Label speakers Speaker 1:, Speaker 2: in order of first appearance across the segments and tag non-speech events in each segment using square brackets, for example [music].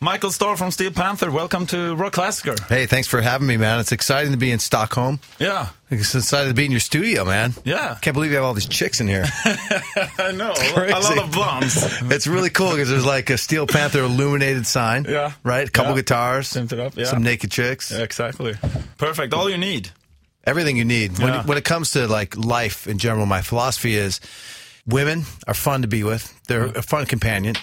Speaker 1: Michael Starr from Steel Panther, welcome to Rock Classicer.
Speaker 2: Hey, thanks for having me, man. It's exciting to be in Stockholm. [laughs]
Speaker 1: Yeah,
Speaker 2: It's exciting to be in your studio, man.
Speaker 1: Yeah.
Speaker 2: Can't believe you have all these chicks in
Speaker 1: [laughs]
Speaker 2: here.
Speaker 1: I know.
Speaker 2: crazy.
Speaker 1: A lot of blondes.
Speaker 2: it's really cool because there's like a Steel Panther illuminated sign.
Speaker 1: Yeah.
Speaker 2: Right? A couple
Speaker 1: Yeah.
Speaker 2: guitars.
Speaker 1: Synthed up, yeah.
Speaker 2: Some naked
Speaker 1: [laughs]
Speaker 2: chicks.
Speaker 1: exactly. Perfect. All you need.
Speaker 2: Everything you need. When,
Speaker 1: Yeah.
Speaker 2: when it comes to like life in general, my philosophy is women are fun to be with. They're
Speaker 1: Mm-hmm.
Speaker 2: a fun companion.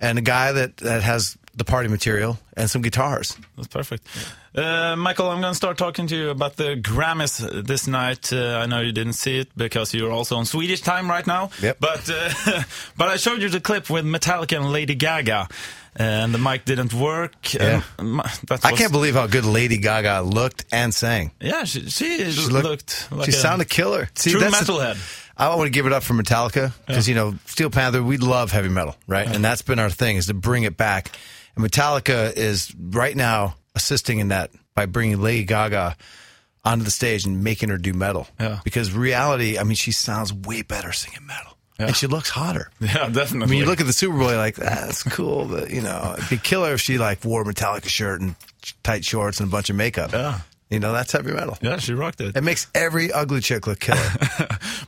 Speaker 2: And a guy that, that has the party material and some guitars.
Speaker 1: That's perfect. Uh, Michael, I'm going to start talking to you about the Grammys this night. Uh, I know you didn't see it because you're also on Swedish time right now.
Speaker 2: Yep.
Speaker 1: But uh, [laughs] but I showed you the clip with Metallica and Lady Gaga, and the mic didn't work.
Speaker 2: Yeah.
Speaker 1: And my- that
Speaker 2: I
Speaker 1: was-
Speaker 2: can't believe how good Lady Gaga looked and sang.
Speaker 1: Yeah, she, she,
Speaker 2: look-
Speaker 1: looked. Like
Speaker 2: she
Speaker 1: a
Speaker 2: sounded killer. See,
Speaker 1: true
Speaker 2: that's the-
Speaker 1: metalhead. [laughs]
Speaker 2: I want to give it up for Metallica because you know Steel Panther. We love heavy metal, right? And that's been our thing is to bring it back. And Metallica is right now assisting in that by bringing Lady Gaga onto the stage and making her do metal.
Speaker 1: Yeah.
Speaker 2: Because reality, I mean, she sounds way better singing metal, and she
Speaker 1: [laughs]
Speaker 2: looks hotter.
Speaker 1: Yeah, definitely.
Speaker 2: I mean, you look at the Super Bowl, you're like, "Ah, that's cool, but you know, it'd be killer if she like wore a Metallica shirt and tight shorts and a bunch of makeup.
Speaker 1: Yeah.
Speaker 2: You know, that's heavy metal.
Speaker 1: Yeah, she rocked it.
Speaker 2: It makes every ugly chick look killer.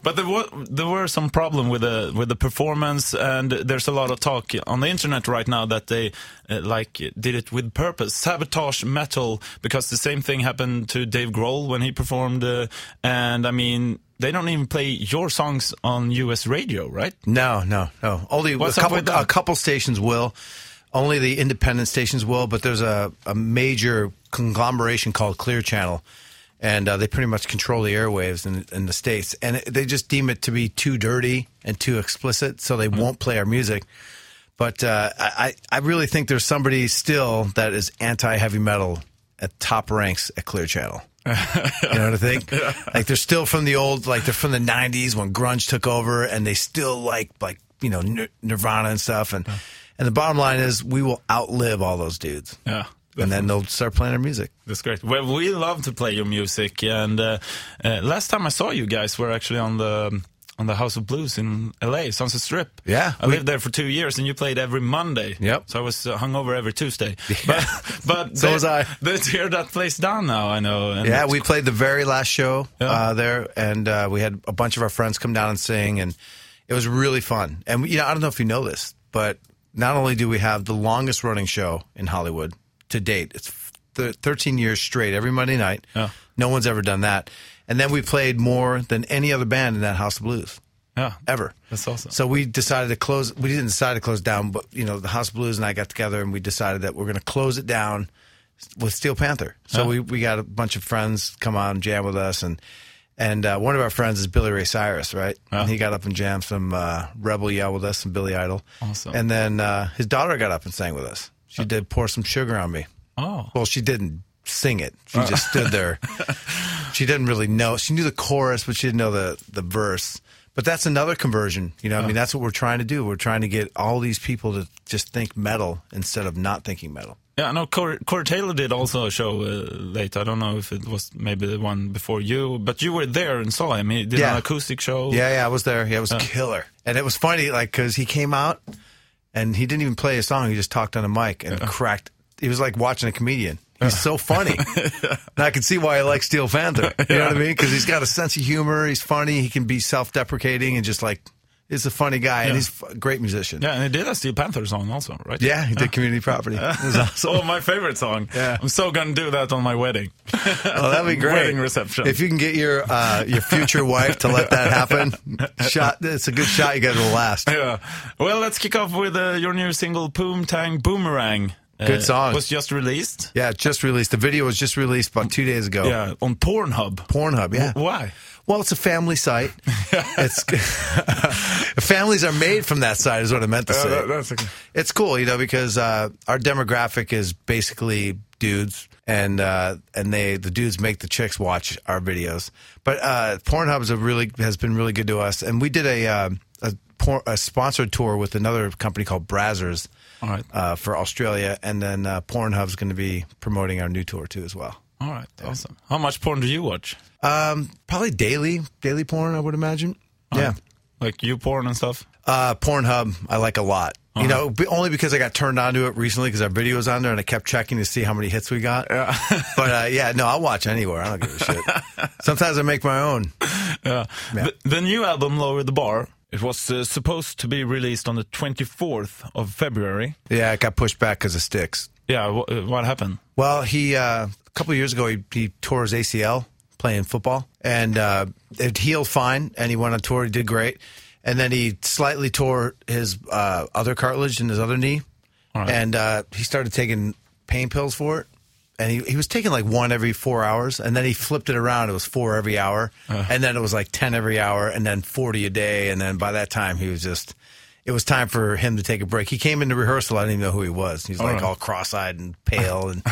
Speaker 1: But there were there were some problem with the with the performance, and there's a lot of talk on the internet right now that they uh, like did it with purpose, sabotage metal, because the same thing happened to Dave Grohl when he performed, uh, and I mean they don't even play your songs on U.S. radio, right?
Speaker 2: no, no, no. Only
Speaker 1: What's
Speaker 2: a
Speaker 1: up
Speaker 2: couple.
Speaker 1: with that?
Speaker 2: A couple stations will. Only the independent stations will. But there's a, a major conglomeration called Clear Channel, and uh, they pretty much control the airwaves in, in the states. And it, they just deem it to be too dirty and too explicit, so they
Speaker 1: Mm-hmm.
Speaker 2: won't play our music. But uh, I, I I really think there's somebody still that is anti heavy metal at top ranks at Clear Channel. you know what I think? Like they're still from the old, like they're from the '90s when grunge took over, and they still like like you know Nir- Nirvana and stuff. And and the bottom line is, we will outlive all those dudes.
Speaker 1: Yeah.
Speaker 2: And then they'll start playing our music.
Speaker 1: That's great. Well, we love to play your music, and uh, uh, last time I saw you guys were actually on the on the House of Blues in L.A. Sunset Strip.
Speaker 2: Yeah,
Speaker 1: I
Speaker 2: we-
Speaker 1: lived there for two years, and you played every Monday.
Speaker 2: Yep.
Speaker 1: So I was uh, hungover every
Speaker 2: [laughs]
Speaker 1: Tuesday. But but
Speaker 2: So
Speaker 1: they,
Speaker 2: was I.
Speaker 1: They tear that place down now. I know. And
Speaker 2: Yeah,
Speaker 1: it's-
Speaker 2: we played the very last show
Speaker 1: Yeah.
Speaker 2: uh, there, and uh, we had a bunch of our friends come down and sing, and it was really fun. And you know, I don't know if you know this, but not only do we have the longest running show in Hollywood to date, it's th- 13 years straight every Monday night.
Speaker 1: Yeah.
Speaker 2: No one's ever done that. And then we played more than any other band in that House of Blues
Speaker 1: yeah.
Speaker 2: ever.
Speaker 1: That's awesome.
Speaker 2: So we decided to close. We didn't decide to close down, but you know, the House of Blues and I got together and we decided that we're going to close it down with Steel Panther. So we, we got a bunch of friends come on and jam with us, and and uh, one of our friends is Billy Ray Cyrus, right?
Speaker 1: Yeah.
Speaker 2: And he got up and jammed some uh, Rebel Yell with us, some Billy Idol.
Speaker 1: Awesome.
Speaker 2: And then uh, his daughter got up and sang with us. She did pour some sugar on me.
Speaker 1: Oh.
Speaker 2: Well, she didn't sing it. She just stood there. she didn't really know. She knew the chorus, but she didn't know the the verse. But that's another conversion. You know, I mean, that's what we're trying to do. We're trying to get all these people to just think metal instead of not thinking metal.
Speaker 1: Yeah, I know Corey, Corey Taylor did also a show uh, late. I don't know if it was maybe the one before you, but you were there and saw him. He did
Speaker 2: Yeah.
Speaker 1: an acoustic show.
Speaker 2: Yeah, yeah, I was there. Yeah, it was killer. And it was funny, like, because he came out and he didn't even play a song. He just talked on a mic and
Speaker 1: Uh-huh.
Speaker 2: cracked. He was like watching a comedian. He's
Speaker 1: [laughs]
Speaker 2: so funny. and I can see why I like Steel Panther. You know what I mean? Because he's got a sense of humor. He's funny. He can be self deprecating and just like, he's a funny guy and he's a great musician.
Speaker 1: Yeah, Uh-huh. and he did a Steel Panther song also, right?
Speaker 2: Yeah, he did community property. It was awesome.
Speaker 1: Oh, my favorite song.
Speaker 2: Yeah.
Speaker 1: I'm so gonna do that on my wedding. [laughs]
Speaker 2: Oh, that'd be great.
Speaker 1: Wedding reception.
Speaker 2: If you can get your uh, your future wife to let that
Speaker 1: [laughs]
Speaker 2: happen, shot. It's a good shot. You guys will last.
Speaker 1: yeah. Well, let's kick off with uh, your new single, Boomtang Boomerang. Uh,
Speaker 2: Good song.
Speaker 1: Was just released.
Speaker 2: Yeah, it just released. The video was just released about two days ago.
Speaker 1: Yeah, on Pornhub.
Speaker 2: Pornhub, yeah.
Speaker 1: Why?
Speaker 2: Well, it's a family site. it's [laughs] families are made from Uh, that site, is what I meant to say. it's cool, you know, because uh, our demographic is basically dudes, and uh, and they the dudes make the chicks watch our videos. But uh, Pornhub is a really has been really good to us, and we did a uh, a, por- a sponsored tour with another company called Brazzers
Speaker 1: All right.
Speaker 2: uh, for Australia, and then uh, Pornhub's going to be promoting our new tour too as well.
Speaker 1: All right. Awesome. How much porn do you watch?
Speaker 2: Um, probably daily, daily porn, I would imagine. Yeah.
Speaker 1: Like you porn and stuff? [laughs]
Speaker 2: Uh, Pornhub, I like a lot. You know, b- only because I got turned onto it recently because our video was on there and I kept checking to see how many hits we got. [laughs] but uh, yeah, no, I'll watch anywhere. I don't give a shit. Sometimes I make my own.
Speaker 1: The, the new album, Lower the Bar, it was uh, supposed to be released on the 24th of February.
Speaker 2: Yeah, it got pushed back because of sticks.
Speaker 1: Yeah, wh- uh, what happened?
Speaker 2: Well, he uh, a couple of years ago he, he tore his ACL playing football, and uh, it healed fine, and he went on tour. He did great, and then he slightly tore his uh, other cartilage in his other knee, and uh, he started taking pain pills for it. And he, he was taking like one every four hours, and then he flipped it around. It was four every hour, and then it was like ten every hour, and then forty a day. And then by that time, he was just. It was time for him to take a break. He came into rehearsal. I didn't even know who he was. He's like
Speaker 1: right.
Speaker 2: all cross-eyed and pale, and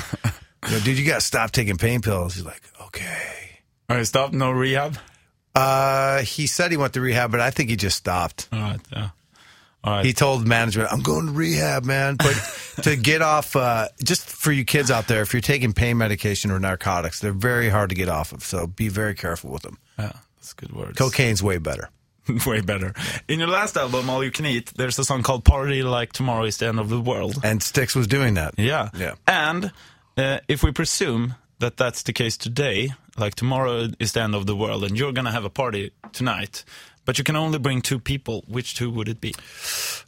Speaker 2: you know, dude, you gotta stop taking pain pills. He's like, okay.
Speaker 1: All right, stop, no rehab?
Speaker 2: Uh, he said he went to rehab, but I think he just stopped.
Speaker 1: All right, yeah. All right.
Speaker 2: He told management, "I'm going to rehab, man." But to get off, uh, just for you kids out there, if you're taking pain medication or narcotics, they're very hard to get off of. So be very careful with them.
Speaker 1: yeah, that's good words.
Speaker 2: Cocaine's way better.
Speaker 1: [laughs] Way better. In your last album, All You Can Eat, there's a song called Party Like Tomorrow is the End of the World.
Speaker 2: And Styx was doing that.
Speaker 1: Yeah.
Speaker 2: Yeah.
Speaker 1: And uh, if we presume that that's the case today, like tomorrow is the end of the world and you're going to have a party tonight, but you can only bring two people, which two would it be?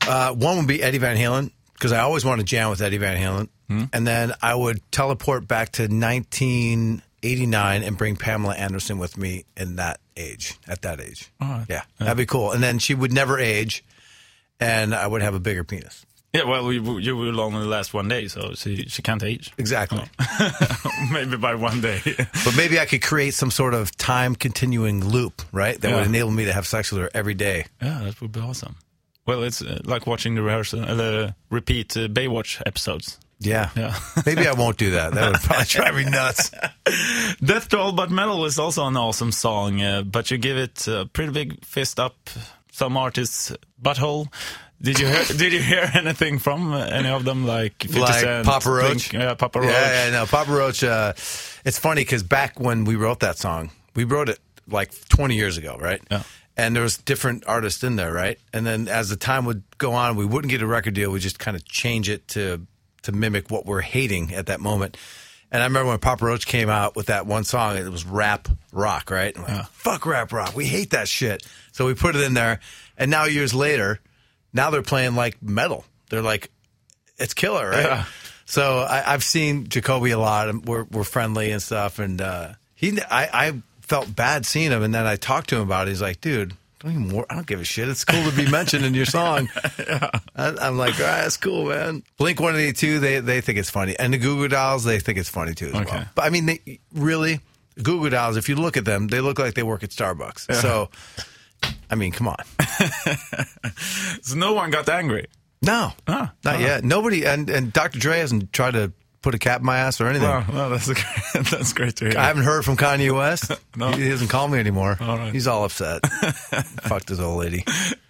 Speaker 2: Uh, one would be Eddie Van Halen because I always wanted to jam with Eddie Van Halen,
Speaker 1: Hmm?
Speaker 2: and then I would teleport back to 1989 and bring Pamela Anderson with me in that age. At that age, yeah, that'd be cool. And then she would never age, and I would have a bigger penis.
Speaker 1: Yeah, well, you, you will only last one day, so she, she can't age. [laughs]
Speaker 2: Exactly.
Speaker 1: Oh. Maybe by one [laughs] day.
Speaker 2: But maybe I could create some sort of time continuing loop, right? That
Speaker 1: Yeah.
Speaker 2: would enable me to have sex with her every day.
Speaker 1: yeah, that would be awesome. Well, it's uh, like watching the rehearsal, uh, the repeat uh, Baywatch episodes.
Speaker 2: Yeah.
Speaker 1: Yeah. [laughs]
Speaker 2: maybe I won't do that. That would probably [laughs] drive me nuts.
Speaker 1: Death to All But Metal is also an awesome song, uh, but you give it a pretty big fist up some artists' butthole. Did you hear, did you hear [laughs] anything from uh, any of them? Like 50
Speaker 2: Like
Speaker 1: Cent,
Speaker 2: Papa Roach?
Speaker 1: Blink- yeah, Papa Roach.
Speaker 2: Yeah, yeah, no, Papa Roach. Uh, it's funny because back when we wrote that song, we wrote it like 20 years ago, right?
Speaker 1: Yeah.
Speaker 2: And there was different artists in there, right? And then as the time would go on, we wouldn't get a record deal. We just kind of change it to to mimic what we're hating at that moment. And I remember when Papa Roach came out with that one song, it was rap rock, right? And we're like, Fuck rap rock. We hate that shit. So we put it in there. And now years later, now they're playing like metal. They're like it's killer, right?
Speaker 1: Yeah.
Speaker 2: So I, I've seen Jacoby a lot. and We're we're friendly and stuff, and uh, he I, I felt bad seeing him, and then I talked to him about it. He's like, dude. Don't even wor- I don't give a shit. It's cool to be mentioned in your song. I, I'm like, all right, that's cool, man. Blink 182, they they think it's funny, and the Goo Goo Dolls, they think it's funny too. As
Speaker 1: Okay.
Speaker 2: well. But I mean, they, really, Goo Goo Dolls. If you look at them, they look like they work at Starbucks. So, I mean, come on.
Speaker 1: So no one got angry.
Speaker 2: No,
Speaker 1: Ah,
Speaker 2: not yet. Nobody, and, and Dr. Dre hasn't tried to put a cap in my ass or anything.
Speaker 1: Oh, well, that's, great- that's [laughs] great to hear.
Speaker 2: I haven't heard from Kanye West.
Speaker 1: [laughs] No.
Speaker 2: He doesn't call me anymore.
Speaker 1: All right.
Speaker 2: He's all
Speaker 1: [laughs]
Speaker 2: upset. Fucked his old lady.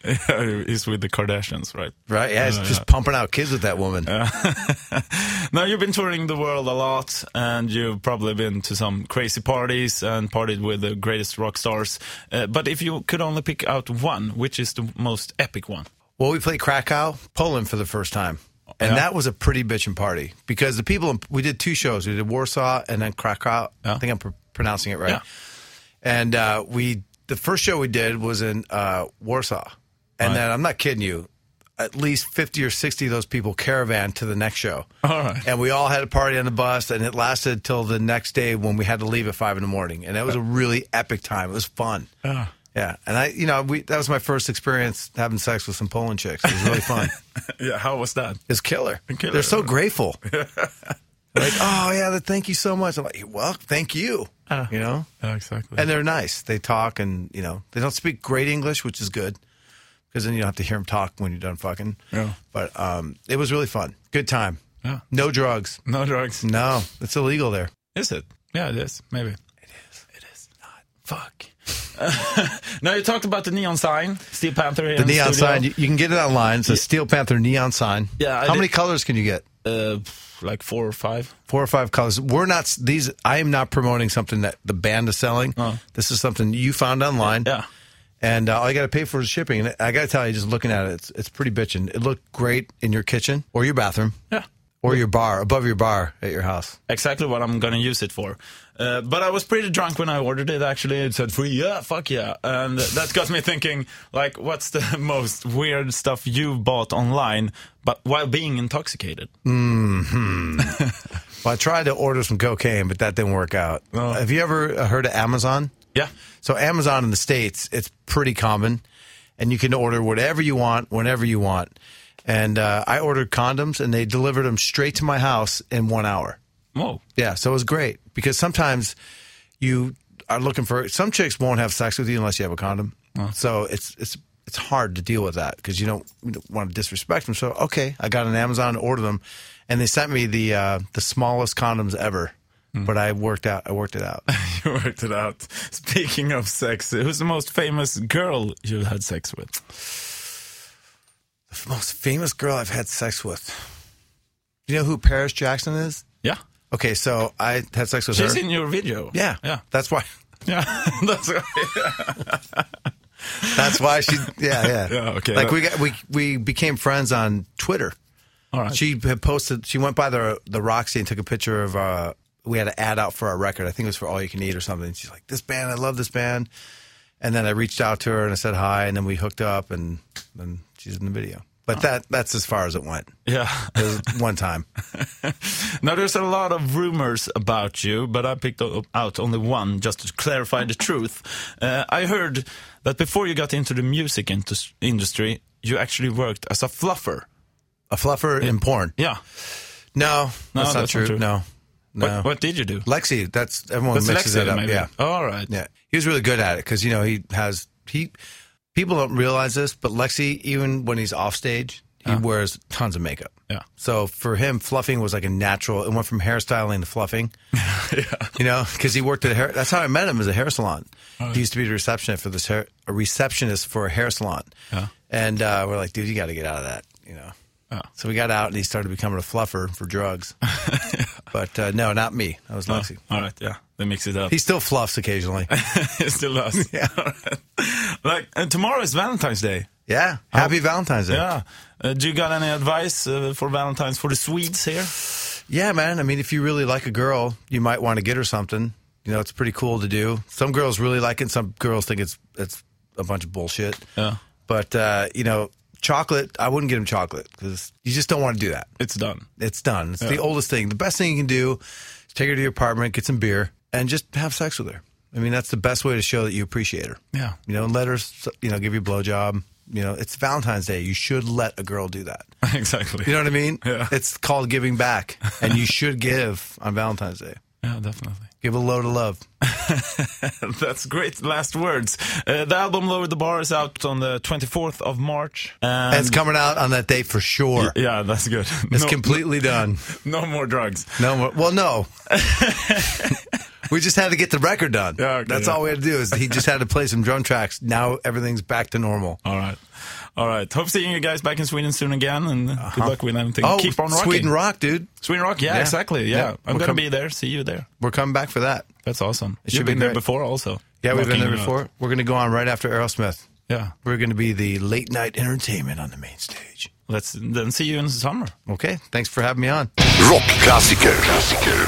Speaker 1: He's with the Kardashians, right?
Speaker 2: Right? Yeah, he's
Speaker 1: Yeah,
Speaker 2: just pumping out kids with that woman.
Speaker 1: [laughs] Now you've been touring the world a lot, and you've probably been to some crazy parties and partied with the greatest rock stars. Uh, but if you could only pick out one, which is the most epic one?
Speaker 2: Well, we played Krakow, Poland for the first time. And
Speaker 1: Yeah.
Speaker 2: that was a pretty bitchin' party because the people, in- we did two shows. We did Warsaw and then Krakow.
Speaker 1: Yeah.
Speaker 2: I think I'm pr- pronouncing it right.
Speaker 1: Yeah.
Speaker 2: And uh, we, the first show we did was in uh, Warsaw. And then, I'm not kidding you, at least 50 or 60 of those people caravan to the next show.
Speaker 1: All right.
Speaker 2: And we all had a party on the bus, and it lasted till the next day when we had to leave at five in the morning. And that was a really epic time. It was fun.
Speaker 1: Yeah.
Speaker 2: Yeah. And I, you know, we, that was my first experience having sex with some Poland chicks. It was
Speaker 1: [laughs]
Speaker 2: really fun.
Speaker 1: yeah, how was that?
Speaker 2: It's killer.
Speaker 1: Killer.
Speaker 2: They're
Speaker 1: [laughs]
Speaker 2: so grateful. like, oh, yeah, th- thank you so much. I'm like, well, thank you.
Speaker 1: Uh.
Speaker 2: you know?
Speaker 1: Yeah, exactly.
Speaker 2: And they're nice. They talk and, you know, they don't speak great English, which is good because then you don't have to hear them talk when you're done fucking.
Speaker 1: Yeah.
Speaker 2: But um, it was really fun. Good time.
Speaker 1: Yeah.
Speaker 2: No drugs.
Speaker 1: no drugs.
Speaker 2: No, it's illegal there.
Speaker 1: Is it? Yeah, it is. Maybe. It is. It is not. Fuck. [laughs] now you talked about the neon sign, Steel Panther. Here
Speaker 2: The neon sign, you, you can get it online. It's a Steel Panther neon sign.
Speaker 1: Yeah, I
Speaker 2: How
Speaker 1: did-
Speaker 2: many colors can you get?
Speaker 1: Uh, like four or five.
Speaker 2: Four or five colors. We're not s- these. I am not promoting something that the band is selling. This is something you found online.
Speaker 1: Uh-huh. Yeah.
Speaker 2: and uh, all I got to pay for is shipping. And I got to tell you, just looking at it, it's it's pretty bitching. It looked great in your kitchen or your bathroom.
Speaker 1: Yeah.
Speaker 2: Or your bar, above your bar at your house.
Speaker 1: exactly what I'm gonna use it for. Uh, but I was pretty drunk when I ordered it. Actually, it said free. Yeah, fuck yeah, and that got me thinking. Like, what's the [laughs] most weird stuff you've bought online, but while being intoxicated?
Speaker 2: Well, I tried to order some cocaine, but that didn't work out. Have you ever uh, heard of Amazon?
Speaker 1: Yeah,
Speaker 2: So Amazon in the states, it's pretty common, and you can order whatever you want whenever you want. And uh, I ordered condoms, and they delivered them straight to my house in one hour.
Speaker 1: whoa, [laughs]
Speaker 2: Yeah, so it was great because sometimes you are looking for some chicks won't have sex with you unless you have a condom. So it's it's it's hard to deal with that because you don't, you don't want to disrespect them. So okay, I got an Amazon order them, and they sent me the uh, the smallest condoms ever.
Speaker 1: Hmm.
Speaker 2: But I worked out. I worked it
Speaker 1: [laughs]
Speaker 2: out.
Speaker 1: you worked it out. Speaking of sex, who's the most famous girl you had sex with?
Speaker 2: the most famous girl I've had sex with. You know who Paris Jackson is?
Speaker 1: Yeah,
Speaker 2: Okay, so I had sex with
Speaker 1: she's
Speaker 2: her.
Speaker 1: in your video.
Speaker 2: yeah,
Speaker 1: yeah,
Speaker 2: That's why.
Speaker 1: yeah. [laughs] That's right.
Speaker 2: That's why she. Yeah, yeah.
Speaker 1: [laughs] Yeah, okay,
Speaker 2: Like
Speaker 1: that-
Speaker 2: we got we we became friends on Twitter.
Speaker 1: All right.
Speaker 2: She had posted. She went by the the Roxy and took a picture of. uh We had an ad out for our record. I think it was for All You Can Eat or something. She's like, "This band, I love this band." And then I reached out to her and I said hi, and then we hooked up, and then she's in the video. But that that's as far as it went.
Speaker 1: yeah.
Speaker 2: It
Speaker 1: [laughs]
Speaker 2: was one time.
Speaker 1: Now, there's a lot of rumors about you, but I picked o- out only one just to clarify the truth. Uh, I heard that before you got into the music intus- industry, you actually worked as a fluffer.
Speaker 2: A fluffer in porn.
Speaker 1: Yeah.
Speaker 2: No,
Speaker 1: No,
Speaker 2: that's, not,
Speaker 1: that's
Speaker 2: true.
Speaker 1: not true.
Speaker 2: No, no.
Speaker 1: What, what did you do?
Speaker 2: Lexi, that's everyone mixes
Speaker 1: Lexi,
Speaker 2: it up.
Speaker 1: maybe.
Speaker 2: Yeah,
Speaker 1: All right. [laughs]
Speaker 2: yeah. He was really good at it because you know he has he. People don't realize this, but Lexi, even when he's off stage, he wears tons of makeup.
Speaker 1: Uh-huh. Yeah.
Speaker 2: So for him, fluffing was like a natural. It went from hairstyling to
Speaker 1: [laughs]
Speaker 2: fluffing. You know, because he worked at a hair. That's how I met him as a hair salon.
Speaker 1: Oh,
Speaker 2: He used to be the receptionist for this hair, a receptionist for a hair salon.
Speaker 1: Yeah. Oh.
Speaker 2: And uh, we're like, dude, you got to get out of that. You know.
Speaker 1: Yeah.
Speaker 2: So we got out, and he started becoming a fluffer for
Speaker 1: [laughs]
Speaker 2: drugs. But uh, no, not me. That
Speaker 1: Oh.
Speaker 2: was Lexi.
Speaker 1: All right. Yeah. They mix it up.
Speaker 2: He still fluffs occasionally.
Speaker 1: [laughs] It's still
Speaker 2: [laughs]
Speaker 1: us. Yeah. like, and tomorrow is Valentine's Day.
Speaker 2: Yeah. Happy Valentine's Day.
Speaker 1: Yeah. Uh, do you got any advice uh, for Valentine's for the Swedes here?
Speaker 2: Yeah, man. I mean, if you really like a girl, you might want to get her something. You know, it's pretty cool to do. Some girls really like it. Some girls think it's it's a bunch of bullshit.
Speaker 1: Yeah.
Speaker 2: But uh, you know, chocolate. I wouldn't get him chocolate because you just don't want to do that.
Speaker 1: It's done.
Speaker 2: It's done. It's the oldest thing. The best thing you can do is take her to your apartment, get some beer, and just have sex with her. I mean, that's the best way to show that you appreciate her.
Speaker 1: Yeah.
Speaker 2: You know, and let her, s- you know, give you a blowjob. You know, it's Valentine's Day. You should let a girl do that.
Speaker 1: [laughs] exactly.
Speaker 2: You know what I mean?
Speaker 1: Yeah.
Speaker 2: It's called giving back, and you should give on Valentine's Day.
Speaker 1: Yeah, definitely.
Speaker 2: Give a load of love.
Speaker 1: [laughs] That's great last words. Uh, the album Lower the Bar is out on the 24th of March. And
Speaker 2: It's coming out on that day for sure.
Speaker 1: yeah, that's good. [laughs]
Speaker 2: It's
Speaker 1: no,
Speaker 2: completely done.
Speaker 1: no more drugs.
Speaker 2: No more.
Speaker 1: [laughs]
Speaker 2: Well, no. we just had to get the record done.
Speaker 1: Yeah, okay,
Speaker 2: That's
Speaker 1: yeah.
Speaker 2: all we had to do is he just had to play some drum tracks. Now everything's back to normal.
Speaker 1: All right. All right. Hope seeing you guys back in Sweden soon again and good luck with everything.
Speaker 2: Oh,
Speaker 1: Keep on rocking.
Speaker 2: Sweden rock, dude.
Speaker 1: Sweden Rock. Yeah,
Speaker 2: Yeah.
Speaker 1: exactly. Yeah.
Speaker 2: Yeah.
Speaker 1: I'm
Speaker 2: We're
Speaker 1: going to
Speaker 2: com-
Speaker 1: be there. See you there.
Speaker 2: We're coming back for that.
Speaker 1: That's awesome.
Speaker 2: should
Speaker 1: You've
Speaker 2: be
Speaker 1: been there
Speaker 2: great.
Speaker 1: before also.
Speaker 2: Yeah, we've been
Speaker 1: Rocking
Speaker 2: there
Speaker 1: it out.
Speaker 2: before. We're going to go on right after Aerosmith.
Speaker 1: Yeah.
Speaker 2: We're going to be the late night entertainment on the main stage.
Speaker 1: Let's then see you in the summer.
Speaker 2: Okay. Thanks for having me on.
Speaker 3: Rockklassiker. Klassiker.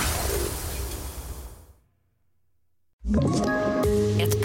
Speaker 4: Ett